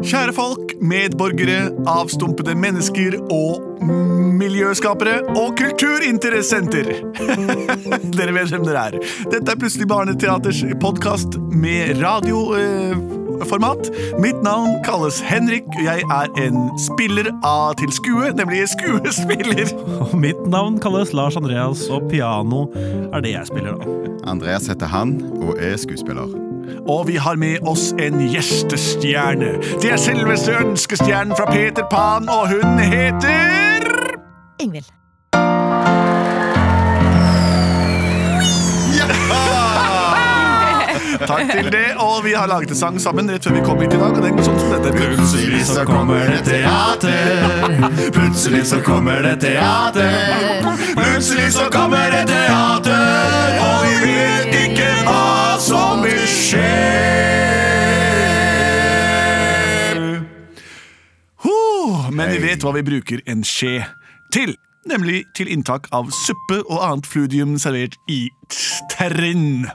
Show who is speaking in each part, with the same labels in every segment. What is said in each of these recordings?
Speaker 1: Kjære folk, medborgere, avstumpede mennesker og miljøskapere og kulturinteressenter. dere vet hvem dere er. Dette er Plutselig barneteaters podkast med radioformat. Mitt navn kalles Henrik, og jeg er en spiller av til skue, nemlig skuespiller.
Speaker 2: Og mitt navn kalles Lars Andreas, og piano er det jeg spiller, da.
Speaker 3: Andreas heter han og er skuespiller.
Speaker 1: Og vi har med oss en gjestestjerne. Det er selveste ønskestjernen fra Peter Pan, og hun heter
Speaker 4: Ingvild.
Speaker 1: Takk til det, og vi har laget en sang sammen rett før vi kom hit i dag, og den går sånn som dette.
Speaker 3: Plutselig så kommer det teater. Plutselig så kommer det teater. Plutselig så kommer det teater, og vi vet ikke hva som vil skje.
Speaker 1: Ho, men vi vet hva vi bruker en skje til. Nemlig til inntak av suppe og annet fludium servert i terrin.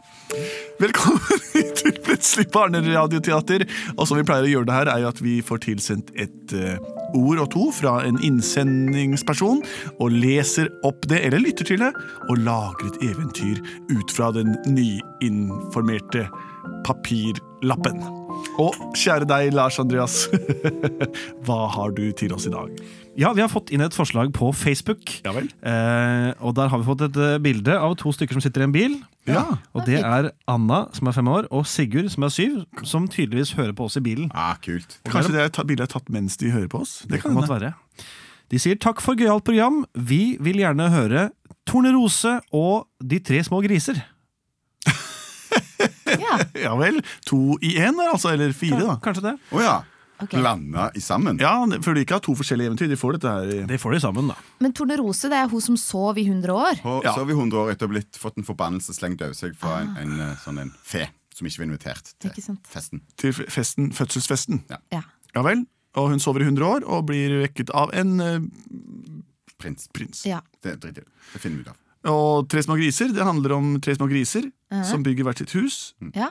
Speaker 1: Velkommen hit til Plutselig barneradioteater. Og som vi pleier å gjøre det her, er jo at vi får tilsendt et eh, ord og to fra en innsendingsperson, og leser opp det, eller lytter til det, og lager et eventyr ut fra den nyinformerte papirlappen. Og kjære deg, Lars Andreas. Hva har du til oss i dag?
Speaker 2: Ja, vi har fått inn et forslag på Facebook.
Speaker 1: Ja vel.
Speaker 2: Eh, og der har vi fått et eh, bilde av to stykker som sitter i en bil.
Speaker 1: Ja.
Speaker 2: Og det er Anna, som er fem år, og Sigurd, som er syv, som tydeligvis hører på oss i bilen.
Speaker 3: Ah, kult.
Speaker 1: Kanskje det er ta- bildet er tatt mens de hører på oss? Det
Speaker 2: Kan
Speaker 1: kan
Speaker 2: godt
Speaker 1: hende.
Speaker 2: være. De sier takk for gøyalt program. Vi vil gjerne høre Tornerose og De tre små griser.
Speaker 4: Ja,
Speaker 1: Ja vel. To i én, der, altså. Eller fire, da.
Speaker 2: Kanskje det?
Speaker 3: Å ja.
Speaker 4: ok.
Speaker 3: Blanda i sammen.
Speaker 1: Ja, For de ikke har to forskjellige eventyr. De får dette her
Speaker 2: Det får de sammen, da.
Speaker 4: Men Tornerose det er hun som sov i 100 år.
Speaker 3: Og
Speaker 1: Ja.
Speaker 3: så har vi 100 år etter blitt fått en forbannelse slengt over seg fra en, en eh, sånn en fe som ikke var invitert
Speaker 4: Ah. Ikke
Speaker 3: til
Speaker 4: sant.
Speaker 3: festen.
Speaker 1: til festen, fødselsfesten.
Speaker 4: Ja.
Speaker 1: Ja vel. Og hun sover i 100 år og blir vekket av en eh,
Speaker 3: Prins.
Speaker 1: prins.
Speaker 4: ja.
Speaker 3: Det driter jeg i. Det finner vi ut av.
Speaker 1: Og Tre små griser. Det handler om tre små griser som bygger hvert sitt hus.
Speaker 3: Mm.
Speaker 4: ja.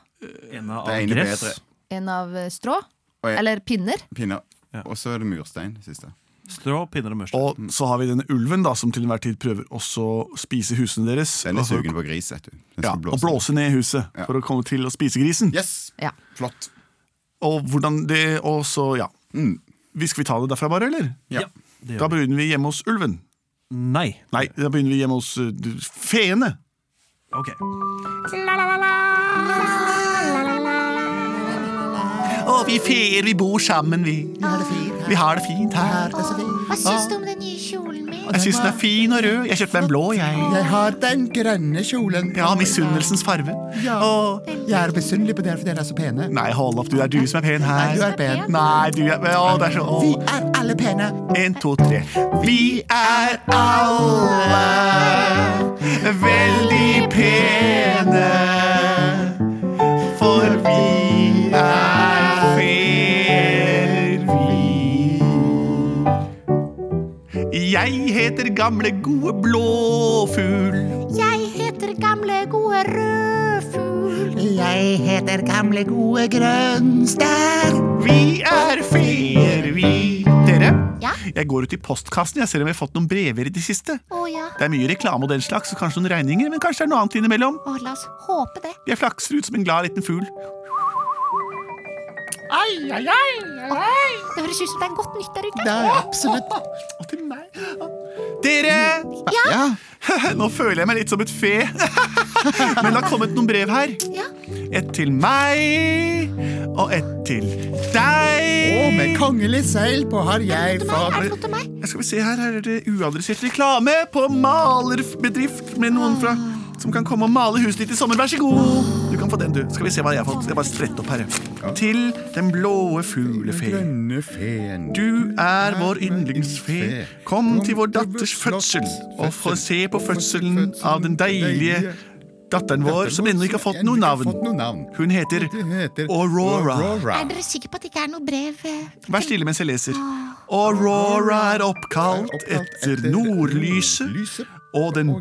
Speaker 2: En av
Speaker 3: Det ene
Speaker 2: gress.
Speaker 3: bedre.
Speaker 4: En av eh, strå.
Speaker 3: Og jeg-
Speaker 4: Eller pinner.
Speaker 3: Pinner.
Speaker 2: Ja.
Speaker 3: Og så er det murstein. det siste.
Speaker 2: Strå, pinner og mørstein.
Speaker 1: Og så har vi denne ulven da, som til enhver tid prøver også å spise husene deres.
Speaker 3: Den er
Speaker 1: og,
Speaker 3: sugen på gris, vet du. Den
Speaker 1: ja,
Speaker 3: skal
Speaker 1: og blåse ned huset for å komme til å spise grisen.
Speaker 3: Yes!
Speaker 4: Ja.
Speaker 3: Flott.
Speaker 1: Og hvordan det Og så, ja.
Speaker 3: Mm.
Speaker 1: Vi skal vi ta det derfra, bare, eller?
Speaker 3: Ja.
Speaker 2: det
Speaker 1: Da
Speaker 2: gjør vi.
Speaker 1: begynner vi hjemme hos ulven.
Speaker 2: Nei.
Speaker 1: Nei, da begynner vi hjemme hos uh, du- feene.
Speaker 2: Ok.
Speaker 1: Å, vi feer, vi bor sammen, vi. Vi har det fint her.
Speaker 5: Ah. Hva syns du om den nye kjolen min?
Speaker 1: Jeg syns den er fin og rød. Jeg kjøpte meg en blå, jeg.
Speaker 6: Jeg har den grønne kjolen.
Speaker 1: Ja, misunnelsens farve.
Speaker 6: Ja.
Speaker 1: Å,
Speaker 6: Jeg er misunnelig på dere, for dere er så pene.
Speaker 1: nei, hold opp, du. Det er du som er pen
Speaker 6: Du
Speaker 1: her.
Speaker 6: er pen.
Speaker 1: Nei, du er Å, det er så å.
Speaker 6: Vi er alle pene.
Speaker 1: En, to, tre. Vi er alle veldig pene. For vi er feer, vi. Jeg heter gamle, gode blåfugl.
Speaker 5: Jeg heter gamle, gode rødfugl.
Speaker 6: Jeg heter gamle, gode Grønstad.
Speaker 1: Vi er feer, vi. Dere,
Speaker 5: Ja?
Speaker 1: jeg går ut i postkassen. Jeg ser om jeg har fått noen brever i det siste.
Speaker 5: Å ja.
Speaker 1: Det er mye reklame og den slags, og kanskje noen regninger, men kanskje det er noe annet innimellom.
Speaker 5: Å, la oss håpe det.
Speaker 1: Jeg flakser ut som en glad liten fugl.
Speaker 5: Det høres ut som det er godt nytt der ute.
Speaker 6: Det er absolutt
Speaker 1: Å, til meg. Dere!
Speaker 3: Ja.
Speaker 1: Nå føler jeg meg litt som et fe. Men det har kommet noen brev her.
Speaker 5: Ja.
Speaker 1: Et til meg, og et til deg.
Speaker 6: Og med kongelig seil på har jeg
Speaker 5: Til meg, er
Speaker 6: fader
Speaker 5: det noe til meg?
Speaker 1: Jeg skal vi se her, her er det uadressert reklame på malerbedrift med noen fra som kan komme og male huset ditt i sommer. Vær så god! Du kan få den, du. Skal vi se hva jeg har fått. Jeg bare spretter opp her. jeg. Til den blåe fuglefeen.
Speaker 3: Grønne feen.
Speaker 1: Du er vår yndlingsfe. Kom til vår datters fødsel og få se på fødselen av den deilige datteren vår som ennå ikke har fått noe navn. Hun heter Aurora.
Speaker 5: Er dere sikre på at det ikke er noe brev? eh?
Speaker 1: Vær stille Ah. mens jeg leser. Aurora er oppkalt etter nordlyset. og den blå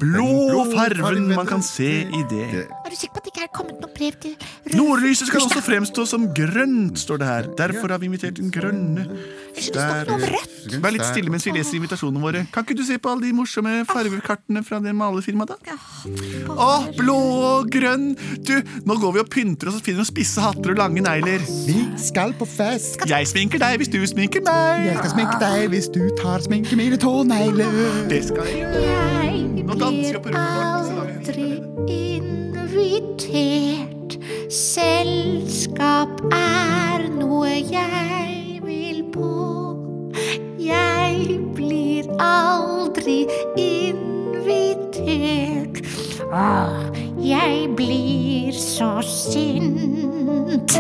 Speaker 6: blå
Speaker 1: farven
Speaker 6: farven
Speaker 1: man kan se i det.
Speaker 5: Er du sikker på at det ikke er kommet noe brev til
Speaker 1: Nordlyset skal også fremstå som grønt, står det her. Derfor har vi invitert den grønne.
Speaker 5: Ikke det snakk noe om rødt?
Speaker 1: Vær litt stille mens vi leser invitasjonene våre. Kan ikke du se på alle de morsomme fargekartene fra det malefirmaet, da? Å, blå og grønn. Du, nå går vi og pynter oss og finner noen spisse hatter og lange negler.
Speaker 6: Vi skal på fest.
Speaker 1: Jeg sminker deg hvis du sminker meg.
Speaker 6: Jeg skal sminke deg hvis du tar sminke mine tånegler.
Speaker 1: Det skal jeg gjøre.
Speaker 5: Jeg
Speaker 1: Nå danser vi på
Speaker 5: blir
Speaker 1: rommet.
Speaker 5: aldri invitert. Selskap er noe jeg vil på. Jeg blir aldri invitert. Åh, jeg blir så sint.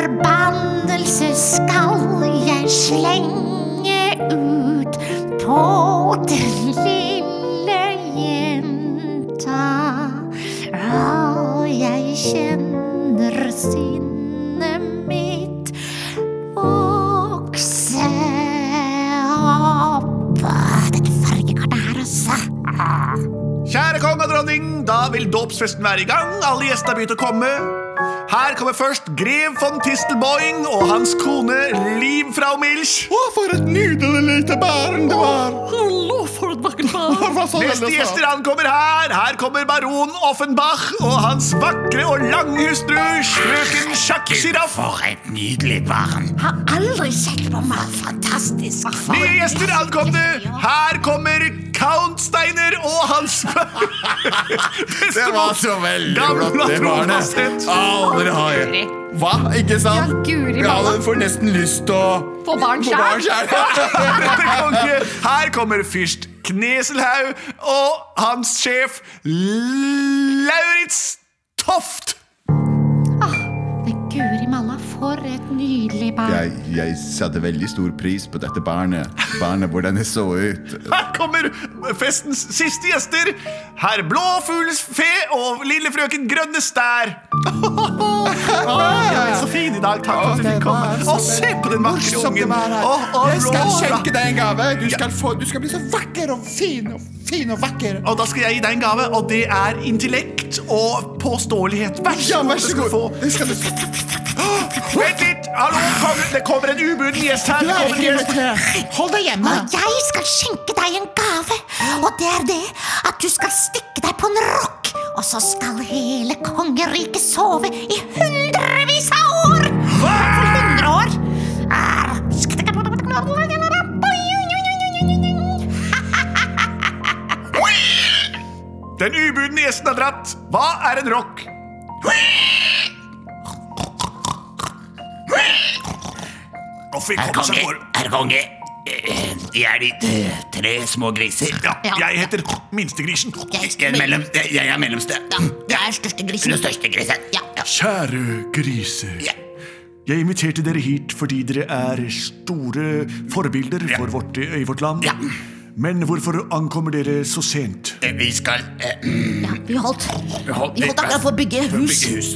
Speaker 5: Forbannelse skal jeg slenge ut på den lille jenta. Åh, jeg kjenner sinnet mitt vokse opp. Dette fargekartet her, altså.
Speaker 1: Kjære kong og dronning, da vil dåpsfesten være i gang. Alle gjestene har begynt å komme. Her kommer først grev von Tistelboing og hans kone Liv fra Milch.
Speaker 3: Å, for et nydelig lite barn det var! Hva sa denne
Speaker 1: Neste
Speaker 3: sa?
Speaker 1: gjester ankommer her. Her kommer baron Offenbach og hans vakre og lange hustru, frøken Sjakk Sjiraff.
Speaker 5: Har aldri sett noe mer fantastisk.
Speaker 1: Nye gjester ankomne. Her kommer Count Steiner og hans
Speaker 3: Det var så veldig
Speaker 1: Gamla
Speaker 3: flott, det barnet.
Speaker 1: trofasthet.
Speaker 3: Aldri har jeg Hva? Ikke sant?
Speaker 7: Ja, guri
Speaker 3: Jeg
Speaker 7: malla.
Speaker 3: hadde får nesten lyst til å
Speaker 7: Få barn
Speaker 3: Få barn selv.
Speaker 1: konge. Her kommer fyrst Kneselhaug og hans sjef Lauritz Toft.
Speaker 5: Men guri malla, for et nydelig barn.
Speaker 3: Jeg, jeg satte veldig stor pris på dette barnet. Barnet, hvordan det så ut.
Speaker 1: Her kommer festens siste gjester. Herr Blåfugls fe og lille frøken Grønne stær. Jeg er så fin i dag. Takk for at du fikk komme. Å, se på den vakre
Speaker 3: Morsomt det
Speaker 1: ungen.
Speaker 3: var her.
Speaker 1: Å, å,
Speaker 3: Jeg skal
Speaker 1: Laura.
Speaker 3: skjenke deg en gave. Du skal få du skal
Speaker 6: Du
Speaker 3: bli
Speaker 6: er så vakker og fin og fin og vakker.
Speaker 1: Og da skal jeg gi deg en gave, og det er intellekt og påståelighet. Vær så
Speaker 3: Ja,
Speaker 1: god.
Speaker 3: vær
Speaker 1: det
Speaker 3: så
Speaker 1: skal du
Speaker 3: god.
Speaker 1: få.
Speaker 3: Det skal du få.
Speaker 1: Vent litt! Hallo, kommer, det kommer en ubuden gjest her.
Speaker 6: Du
Speaker 1: Det
Speaker 6: er
Speaker 1: kommer en
Speaker 6: ikke
Speaker 1: gjest.
Speaker 6: invitert. Hold deg hjemme.
Speaker 5: Og jeg skal skjenke deg en gave, og det er det at du skal stikke deg på en rock, og så skal hele kongeriket sove i hundrevis av år! For hundre år! Ah, skal det-
Speaker 1: Den ubudne gjesten har dratt. Hva er en rock? Å, fy, kom, så går.
Speaker 8: herr konge. Eh, Jeg er de t- tre små griser.
Speaker 1: Ja, jeg heter Minstegrisen.
Speaker 8: Jeg er, mellom, jeg jeg er mellomste.
Speaker 5: Jeg er største grisen.
Speaker 8: Den største grisen.
Speaker 1: Kjære griser.
Speaker 8: Ja.
Speaker 1: Jeg inviterte dere hit fordi dere er store forbilder for vårt, i vårt land.
Speaker 8: Ja.
Speaker 1: Men hvorfor ankommer dere så sent?
Speaker 8: Eh, Vi skal eh,
Speaker 5: Ja, vi holdt, vi
Speaker 8: holdt-
Speaker 5: holdt akkurat på å bygge hus.
Speaker 8: bygge hus.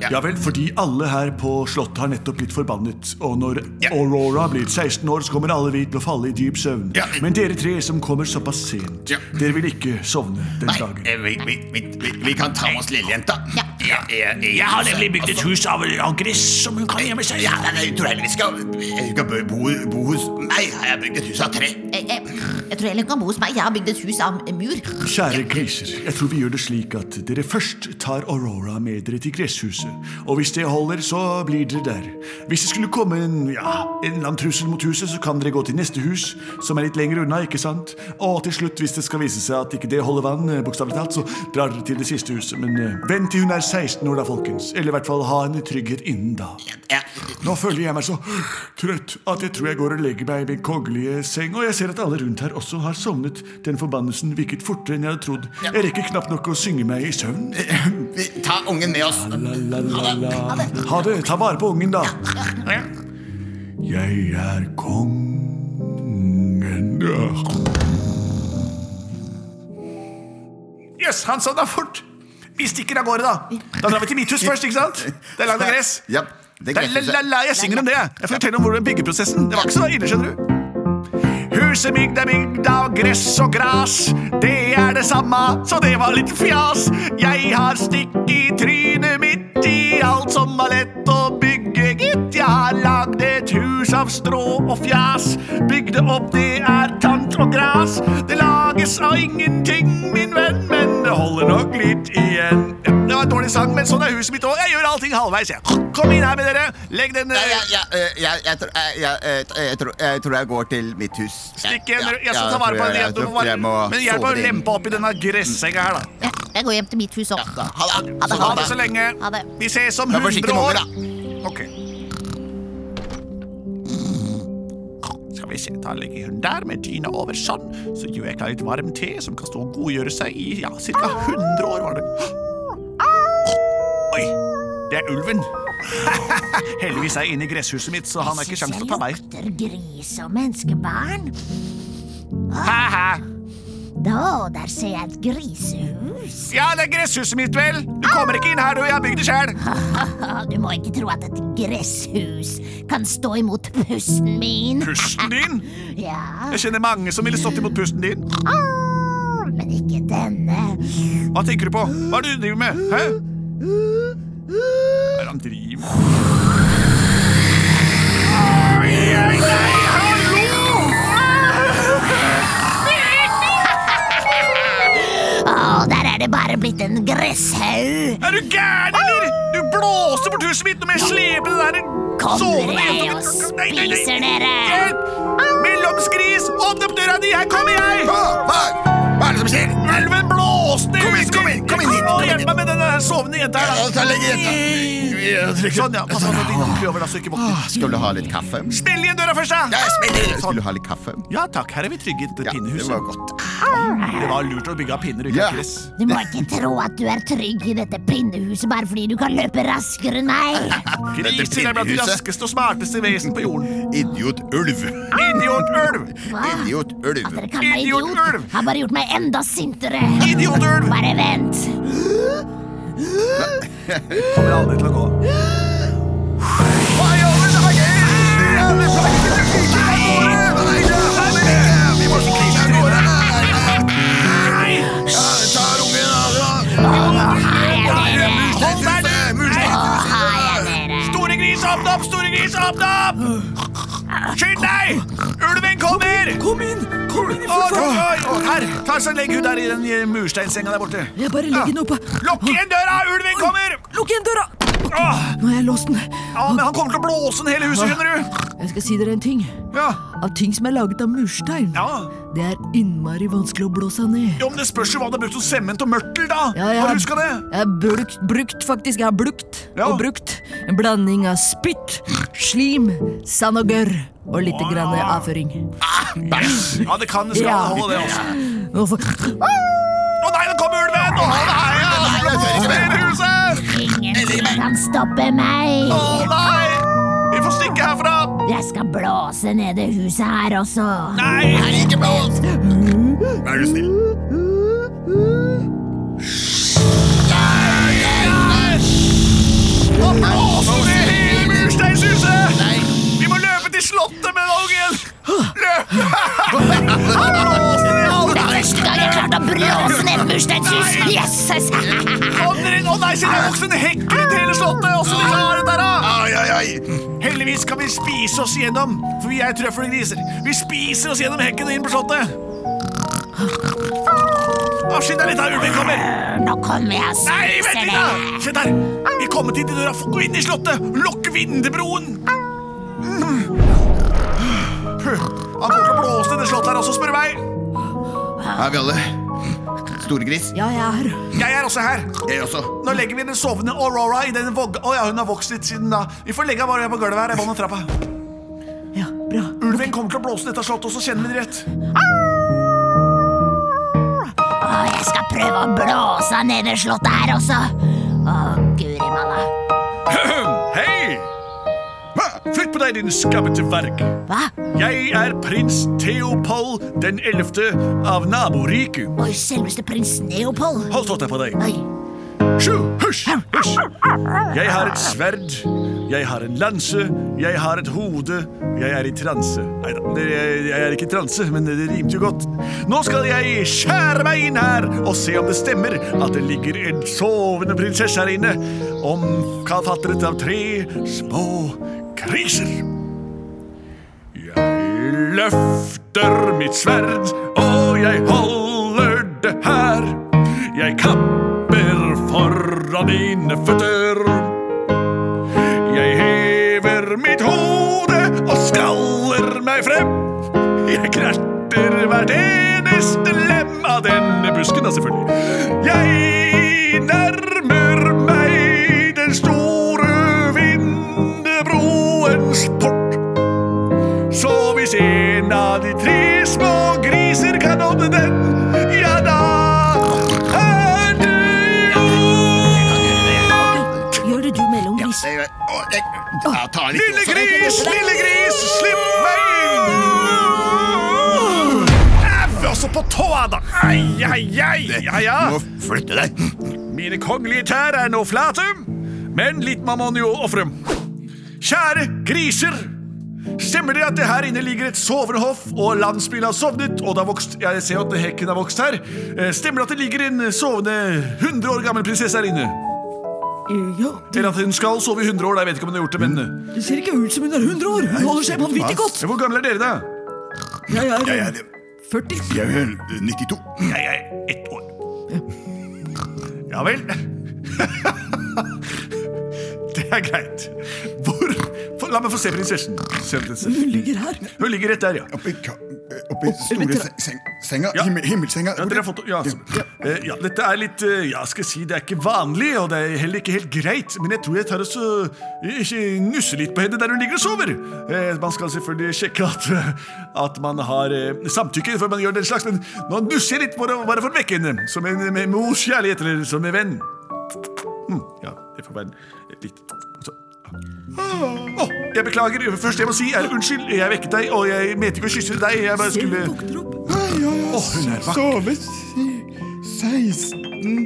Speaker 8: Ja.
Speaker 1: Ja vel, fordi alle her på Slottet har nettopp blitt forbannet. Og når
Speaker 8: Ja.
Speaker 1: Aurora blir 16 år, så kommer alle vi til å falle i dyp søvn.
Speaker 8: Ja.
Speaker 1: Men dere tre som kommer såpass sent,
Speaker 8: Ja.
Speaker 1: dere vil ikke sovne den
Speaker 8: Nei,
Speaker 1: dagen.
Speaker 8: eh, vi, vi, vi, vi, vi kan ta med oss lillejenta.
Speaker 5: Ja.
Speaker 8: Jeg har nemlig bygd et hus av, gress som hun kan gjemme seg i. Altså, Ja, nei, nei, jeg tror heller vi skal, jeg skal bo, bo, bo hos meg. Har jeg bygd et hus av tre?
Speaker 5: Jeg, jeg, jeg tror Ellen kan bo hos meg. Jeg har bygd et hus av mur.
Speaker 1: Kjære griser, jeg tror vi gjør det slik at dere først tar Aurora med dere til gresshuset. Og hvis det holder, så blir dere der. Hvis det skulle komme en, ja, en eller annen trussel mot huset, så kan dere gå til neste hus, som er litt lenger unna, ikke sant? Og til slutt, hvis det skal vise seg at ikke det holder vann, eh, bokstavelig talt, så drar dere til det siste huset. Men eh, vent til hun er 16 år da, folkens. Eller i hvert fall ha en trygghet innen da.
Speaker 8: Ja.
Speaker 1: Nå føler jeg meg så trøtt at jeg tror jeg går og legger meg i min kongelige seng, og jeg ser at alle rundt her også har sovnet. Den forbannelsen virket fortere enn jeg hadde trodd. Jeg rekker knapt nok å synge meg i søvn.
Speaker 8: Vi, ta ungen med oss.
Speaker 1: La, la, la, la. Ha det. Ta vare på ungen, da. Jeg er kongen Jøss, han sovna fort. Vi stikker av gårde, da. Da drar vi til mitt hus først, ikke sant? Det er langt av gress.
Speaker 3: Ja, det
Speaker 1: La, la,
Speaker 3: gresset.
Speaker 1: la, la, jeg synger om det. Jeg Jeg forteller om hvordan byggeprosessen. Det var ikke så ille, skjønner du. Huset migg er migg av gress og gras. Det er det samme, så det var litt fjas. Jeg har stikk i trynet mitt i alt som var lett å bygge, gitt. Jeg har lagd et hus av strå og fjas. Bygd det opp, det er tant og gras. Det lages av ingenting, min venn, men det holder nok litt igjen. Det var en dårlig sang, men sånn er huset mitt òg. Jeg gjør allting halvveis, jeg. Kom inn her med dere. Legg den
Speaker 3: Jeg, jeg, jeg, jeg, eh, jeg, tror- jeg, jeg, jeg, eh, jeg, tror- jeg tror jeg går til mitt hus.
Speaker 1: Stikk igjen,
Speaker 3: Ja,
Speaker 1: jeg skal
Speaker 3: ja,
Speaker 1: ta vare på
Speaker 3: tror
Speaker 1: den. Jeg,
Speaker 3: jeg- jeg
Speaker 1: du
Speaker 3: tror
Speaker 1: må bare,
Speaker 3: jeg må
Speaker 1: men hjelp meg
Speaker 3: sove
Speaker 1: å
Speaker 3: det inn.
Speaker 1: lempe opp i denne gressenga her, da.
Speaker 5: Ja, jeg går hjem til mitt hus òg.
Speaker 3: Ha det.
Speaker 5: Ha det,
Speaker 1: Ha det så lenge.
Speaker 4: Ha det.
Speaker 1: Vi ses om
Speaker 3: Vær forsiktig
Speaker 1: 100
Speaker 3: med
Speaker 1: år.
Speaker 3: unger, da.
Speaker 1: Ok. Skal vi se, ta og legge den der med dyna over sånn, så gjør jeg klar litt varm te som kan stå og godgjøre seg i ja, ca. 100 år, var det. Oi, det er ulven. Heldigvis er jeg inne i gresshuset mitt, så han har ikke sjanse til å ta meg.
Speaker 5: Jeg lukter gris og menneskebarn.
Speaker 1: Ha-ha.
Speaker 5: Da, der ser jeg et grisehus.
Speaker 1: Ja, det er gresshuset mitt, vel. Du kommer ikke inn her, du. Jeg har bygd det sjæl.
Speaker 5: Ah, Du må ikke tro at et gresshus kan stå imot pusten min.
Speaker 1: Pusten din?
Speaker 5: Ja,
Speaker 1: Jeg kjenner mange som ville stått imot pusten din.
Speaker 5: ah, men ikke denne.
Speaker 1: Hva tenker du på? Hva er det du driver med? Hæ? Hva er det han driver med?
Speaker 5: Å, der er det bare blitt en gresshaug.
Speaker 1: Er du gæren, eller? Du blåste bort huset mitt når jeg slepte det der
Speaker 5: Kommer
Speaker 1: sovende
Speaker 5: jeg
Speaker 1: jenta
Speaker 5: og
Speaker 1: mi- Nei, nei, nei.
Speaker 5: spiser dere?
Speaker 1: Hjelp! Mellomskris, åpne opp døra di, her kommer jeg!
Speaker 3: Hva? Hva? Hva er det som skjer?
Speaker 1: Elven blåste
Speaker 3: Kom inn, kom inn, kom inn hit,
Speaker 1: Å,
Speaker 3: kom inn
Speaker 1: Hjelp
Speaker 3: hit.
Speaker 1: meg med den der sovende jenta her,
Speaker 3: Ja,
Speaker 1: da.
Speaker 3: ta legge jenta.
Speaker 1: Sånn, ja. Pass på at din ordentlig over, da, så ikke våkner.
Speaker 3: Ah, Skal du ha litt kaffe?
Speaker 1: Smell igjen døra først, da!
Speaker 3: Ja, spiller. Skal du ha litt kaffe?
Speaker 1: Ja takk, her er vi trygge i dette
Speaker 3: Ja, det var
Speaker 1: pinnehuset.
Speaker 3: godt.
Speaker 1: Det var lurt å bygge av pinner og
Speaker 3: Ja.
Speaker 1: ikke av gress.
Speaker 5: Du må ikke tro at du er trygg i dette pinnehuset bare fordi du kan løpe raskere enn meg.
Speaker 1: Griser er blant de
Speaker 3: pinnehuset.
Speaker 1: raskeste og smarteste vesen på jorden.
Speaker 3: Idiot ulv.
Speaker 1: Idiotulv!
Speaker 5: Hva?
Speaker 3: Idiot ulv.
Speaker 5: At dere kaller meg idiot,
Speaker 1: Idiotulv!
Speaker 5: har bare gjort meg enda sintere.
Speaker 1: Idiotulv!
Speaker 5: Bare vent.
Speaker 1: Kommer aldri til å gå.
Speaker 3: Hva i alle dager? Alle saker til fiken av gårde! Nei, det er for mye. Vi må skrike av gårde. Ja, ta ungen av da.
Speaker 1: Hold deg ned!
Speaker 5: Å, har jeg dere.
Speaker 1: Store gris, åpne opp! Store gris, åpne opp! Skynd deg! Ulven kommer!
Speaker 7: Kom inn! Kom inn i
Speaker 1: Å,
Speaker 7: full
Speaker 1: oi,
Speaker 7: fart!
Speaker 1: oi, oi. Her, ta så legg ut der i den eh, mursteinsenga der borte.
Speaker 7: Jeg bare legger den opp.
Speaker 1: Lukk igjen døra! Ulven kommer!
Speaker 7: Lukk igjen døra!
Speaker 1: Åh,
Speaker 7: Nå har jeg låst den.
Speaker 1: Ah, ja, men han kommer til å blåse ned hele huset, skjønner du.
Speaker 7: Jeg skal si dere en ting.
Speaker 1: Ja,
Speaker 7: Av ting som er laget av murstein.
Speaker 1: ja.
Speaker 7: Det er innmari vanskelig å blåse ned.
Speaker 1: Jo, men det spørs jo hva det er brukt som sement og mørtel, da.
Speaker 7: Ja, jeg
Speaker 1: Har
Speaker 7: har-
Speaker 1: du huska det?
Speaker 7: Jeg har brukt, brukt faktisk. Jeg har brukt
Speaker 1: Ja.
Speaker 7: og brukt en blanding av spytt, slim, sand og gørr. Og litt grann avføring.
Speaker 1: Ja, det kan det skal
Speaker 7: Ja.
Speaker 1: holde, det også.
Speaker 7: Og for-
Speaker 1: Å nei, nå kommer ulven! Å nei, ja,
Speaker 3: Nei, jeg tør ikke
Speaker 1: blåser
Speaker 3: mer.
Speaker 1: ned huset!
Speaker 5: Ingenting kan stoppe meg.
Speaker 1: Å nei! Vi får stikke herfra!
Speaker 5: Jeg skal blåse ned det huset her også.
Speaker 1: Nei!
Speaker 3: Er du snill?
Speaker 1: Nå blåser det hele mursteinshuset! Vi må løpe til slottet med ungen! Løp! Han blåser ned alle
Speaker 5: Første gang jeg klarte å blåse ned et mursteinshus. Jøsses!
Speaker 1: Kom dere inn! Å nei, se, det er voksen hekk rundt hele slottet! Åssen vil du ha dette her, da?
Speaker 3: Ai, ai, ai.
Speaker 1: Heldigvis kan vi spise oss gjennom, for vi er trøffelgriser. Vi spiser oss gjennom hekken og inn på slottet. Avskynd deg litt, da, ulven kommer.
Speaker 5: Nå kommer jeg og
Speaker 1: Nei, vent
Speaker 5: spiser
Speaker 1: litt,
Speaker 5: det.
Speaker 1: da! Se der! Vi er kommet inn til døra. Få Gå inn i slottet! Lokk vindebroen! Mm. Puh, Han kommer til å blåse ned det slottet her også, spør du meg.
Speaker 3: Er vi alle? Storgris?
Speaker 7: Ja, jeg er her.
Speaker 1: Jeg er også her.
Speaker 3: Jeg også.
Speaker 1: Nå legger vi den sovende Aurora i den vogga Å ja, hun har vokst litt siden da. Vi får legge henne bare på gulvet her. i vann og trappa.
Speaker 7: Ja, bra.
Speaker 1: Ulven kommer til å blåse ned dette slottet, og så kjenner vi det rett.
Speaker 5: Å, jeg skal prøve å blåse ned det slottet her også. Å, guri malla.
Speaker 1: Hei! Hva? Flytt på deg, din skabbete verk.
Speaker 5: Hva?
Speaker 1: Jeg er prins Theopold den ellevte av naboriket.
Speaker 5: Oi, selveste prins Neopold.
Speaker 1: Hold stått deg på deg.
Speaker 5: Oi,
Speaker 1: sju, hysj, hysj. Jeg har et sverd, jeg har en lanse, jeg har et hode, jeg er i transe. Nei da, jeg, jeg er ikke i transe, men det rimte jo godt. Nå skal jeg skjære meg inn her og se om det stemmer at det ligger en sovende prinsesse her inne, omfattet av tre små kriser. Jeg løfter mitt sverd, og jeg holder det her. Jeg kapper foran dine føtter. Jeg hever mitt hode og skaller meg frem. Jeg kratter hvert eneste lem av denne busken, da, selvfølgelig. Jeg nærmer meg den store vindebroens port. Så hvis en av de tre små griser kan åpne den, ja da er du
Speaker 7: Gjør det du mellom gris.
Speaker 8: Jeg- å, jeg- jeg tar litt
Speaker 1: Lille
Speaker 8: også.
Speaker 1: gris, lille gris, slipp meg inn! Au, også på tåa, da. Ai, ai, ai. Ja, ja.
Speaker 8: Du må flytte deg.
Speaker 1: Mine kongelige tær er nå flate, men litt man må jo ofre. Kjære griser! Stemmer det at det her inne ligger et sovende hoff, og landsbyen har sovnet, og det har vokst, jeg ser at hekken har vokst her. Eh, Stemmer det at det ligger en sovende 100 år gammel prinsesse her inne?
Speaker 7: Eh, Ja,
Speaker 1: Eller at hun skal sove i 100 år, da. jeg vet ikke om hun har gjort det, men eh,
Speaker 7: det ser ikke ut som hun er 100 år. Hun holder seg vanvittig godt.
Speaker 1: Hvor gamle er dere, da?
Speaker 7: Jeg
Speaker 8: Jeg
Speaker 7: er
Speaker 8: er,
Speaker 7: 40.
Speaker 8: jeg er 92.
Speaker 1: Jeg er ett år. Ja vel. Det er greit. Hvor for, La meg få se prinsessen. Se prinsessen.
Speaker 7: Hun ligger her.
Speaker 1: Hun ligger rett der, ja.
Speaker 8: Oppi, ka- oppi store
Speaker 7: vent,
Speaker 8: se- seng, senga?
Speaker 1: Ja.
Speaker 8: Himmel, himmelsenga?
Speaker 1: Ja, dere har fått, ja, altså. Eh, ja, dette er litt eh, Ja, skal jeg si det er ikke vanlig, og det er heller ikke helt greit, men jeg tror jeg tar og så- eh, ikke nusser litt på henne der hun ligger og sover. Eh, man skal selvfølgelig sjekke at, eh, at man har eh, samtykke før man gjør den slags, men nå nusser jeg litt for å bare for å vekke henne, som en med mors kjærlighet eller som en venn. Hm, ja, det får være en- litt sånn. Å, jeg beklager. Først jeg må si, er unnskyld. Jeg vekket deg, og jeg mente ikke å kysse deg. Jeg bare
Speaker 7: Ser
Speaker 1: skulle
Speaker 7: hun våkner opp.
Speaker 1: Å, hun er vakker.
Speaker 3: Sove si-
Speaker 8: hum,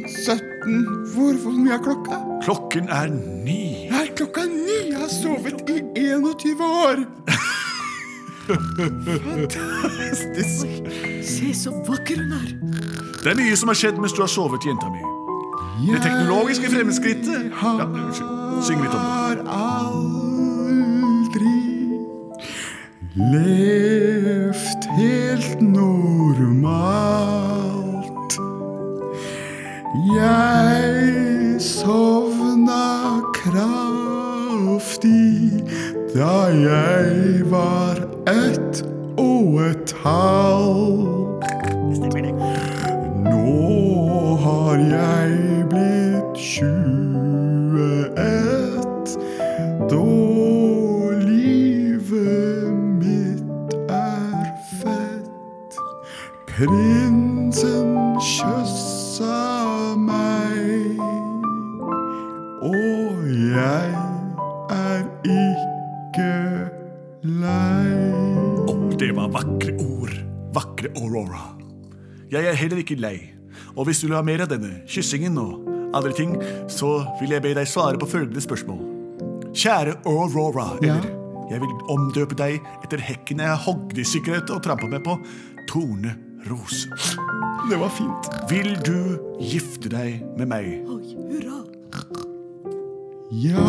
Speaker 3: 16, 17 Hvor, hvor mye er klokka?
Speaker 1: Klokken er ni.
Speaker 3: Det er klokka ni! Jeg har sovet i 21 år! Fantastisk.
Speaker 7: Se så vakker hun er.
Speaker 1: Det er mye som har skjedd mens du har sovet, jenta mi. Det teknologiske fremskrittet ja, unnskyld. Syng litt om det.
Speaker 3: har aldri levd helt normalt. Jeg sovna kraftig da jeg var ett og et halvt. Nå har jeg blitt 21 Da livet mitt er fett Prinsen kjøssa meg Og jeg er ikke lei
Speaker 1: Å, det var vakre ord. Vakre Aurora. Jeg er heller ikke lei. Og hvis du vil ha mer av denne kyssingen og andre ting, så vil jeg be deg svare på følgende spørsmål. Kjære Aurora, eller jeg vil omdøpe deg etter hekken jeg hogde i sikkerhet og trampet meg på, Tone Rose.
Speaker 3: Det var fint
Speaker 1: Vil du gifte deg med meg?
Speaker 7: Oi, hurra.
Speaker 3: Ja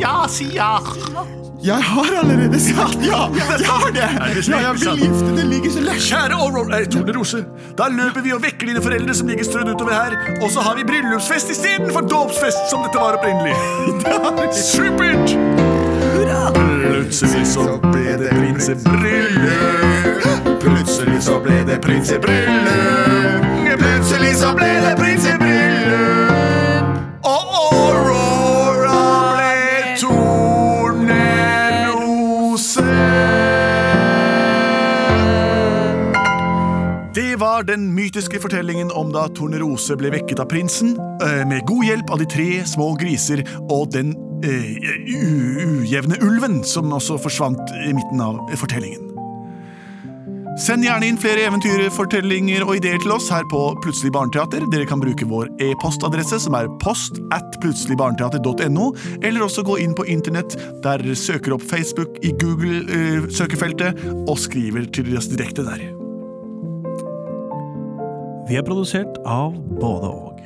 Speaker 1: Ja, si ja!
Speaker 3: Jeg har allerede sagt ja! Jeg har
Speaker 1: det
Speaker 3: det! Ja,
Speaker 1: slik?
Speaker 3: jeg vil gifte, det ligger så lett
Speaker 1: Kjære Aurora eh, Tone Rose, da løper vi og vekker dine foreldre som ligger strødd utover her, og så har vi bryllupsfest istedenfor dåpsfest, som dette var opprinnelig. Supert! Plutselig så ble det prinsebryllup. Plutselig så ble det prinsebryllup. Plutselig så ble det prinsebryllup. Og Aurora ble tornerose. Det var den mytiske fortellingen om da Tornerose ble vekket av prinsen, eh, med god hjelp av de tre små griser og den eh, u- ujevne ulven, som også forsvant i midten av fortellingen. Send gjerne inn flere eventyr, fortellinger og ideer til oss her på Plutselig barneteater. Dere kan bruke vår e-postadresse, som er post at plutseligbarneteater.no, eller også gå inn på internett, der dere søker opp Facebook i Google-søkefeltet, og skriver til oss direkte der.
Speaker 2: Vi er produsert av både og.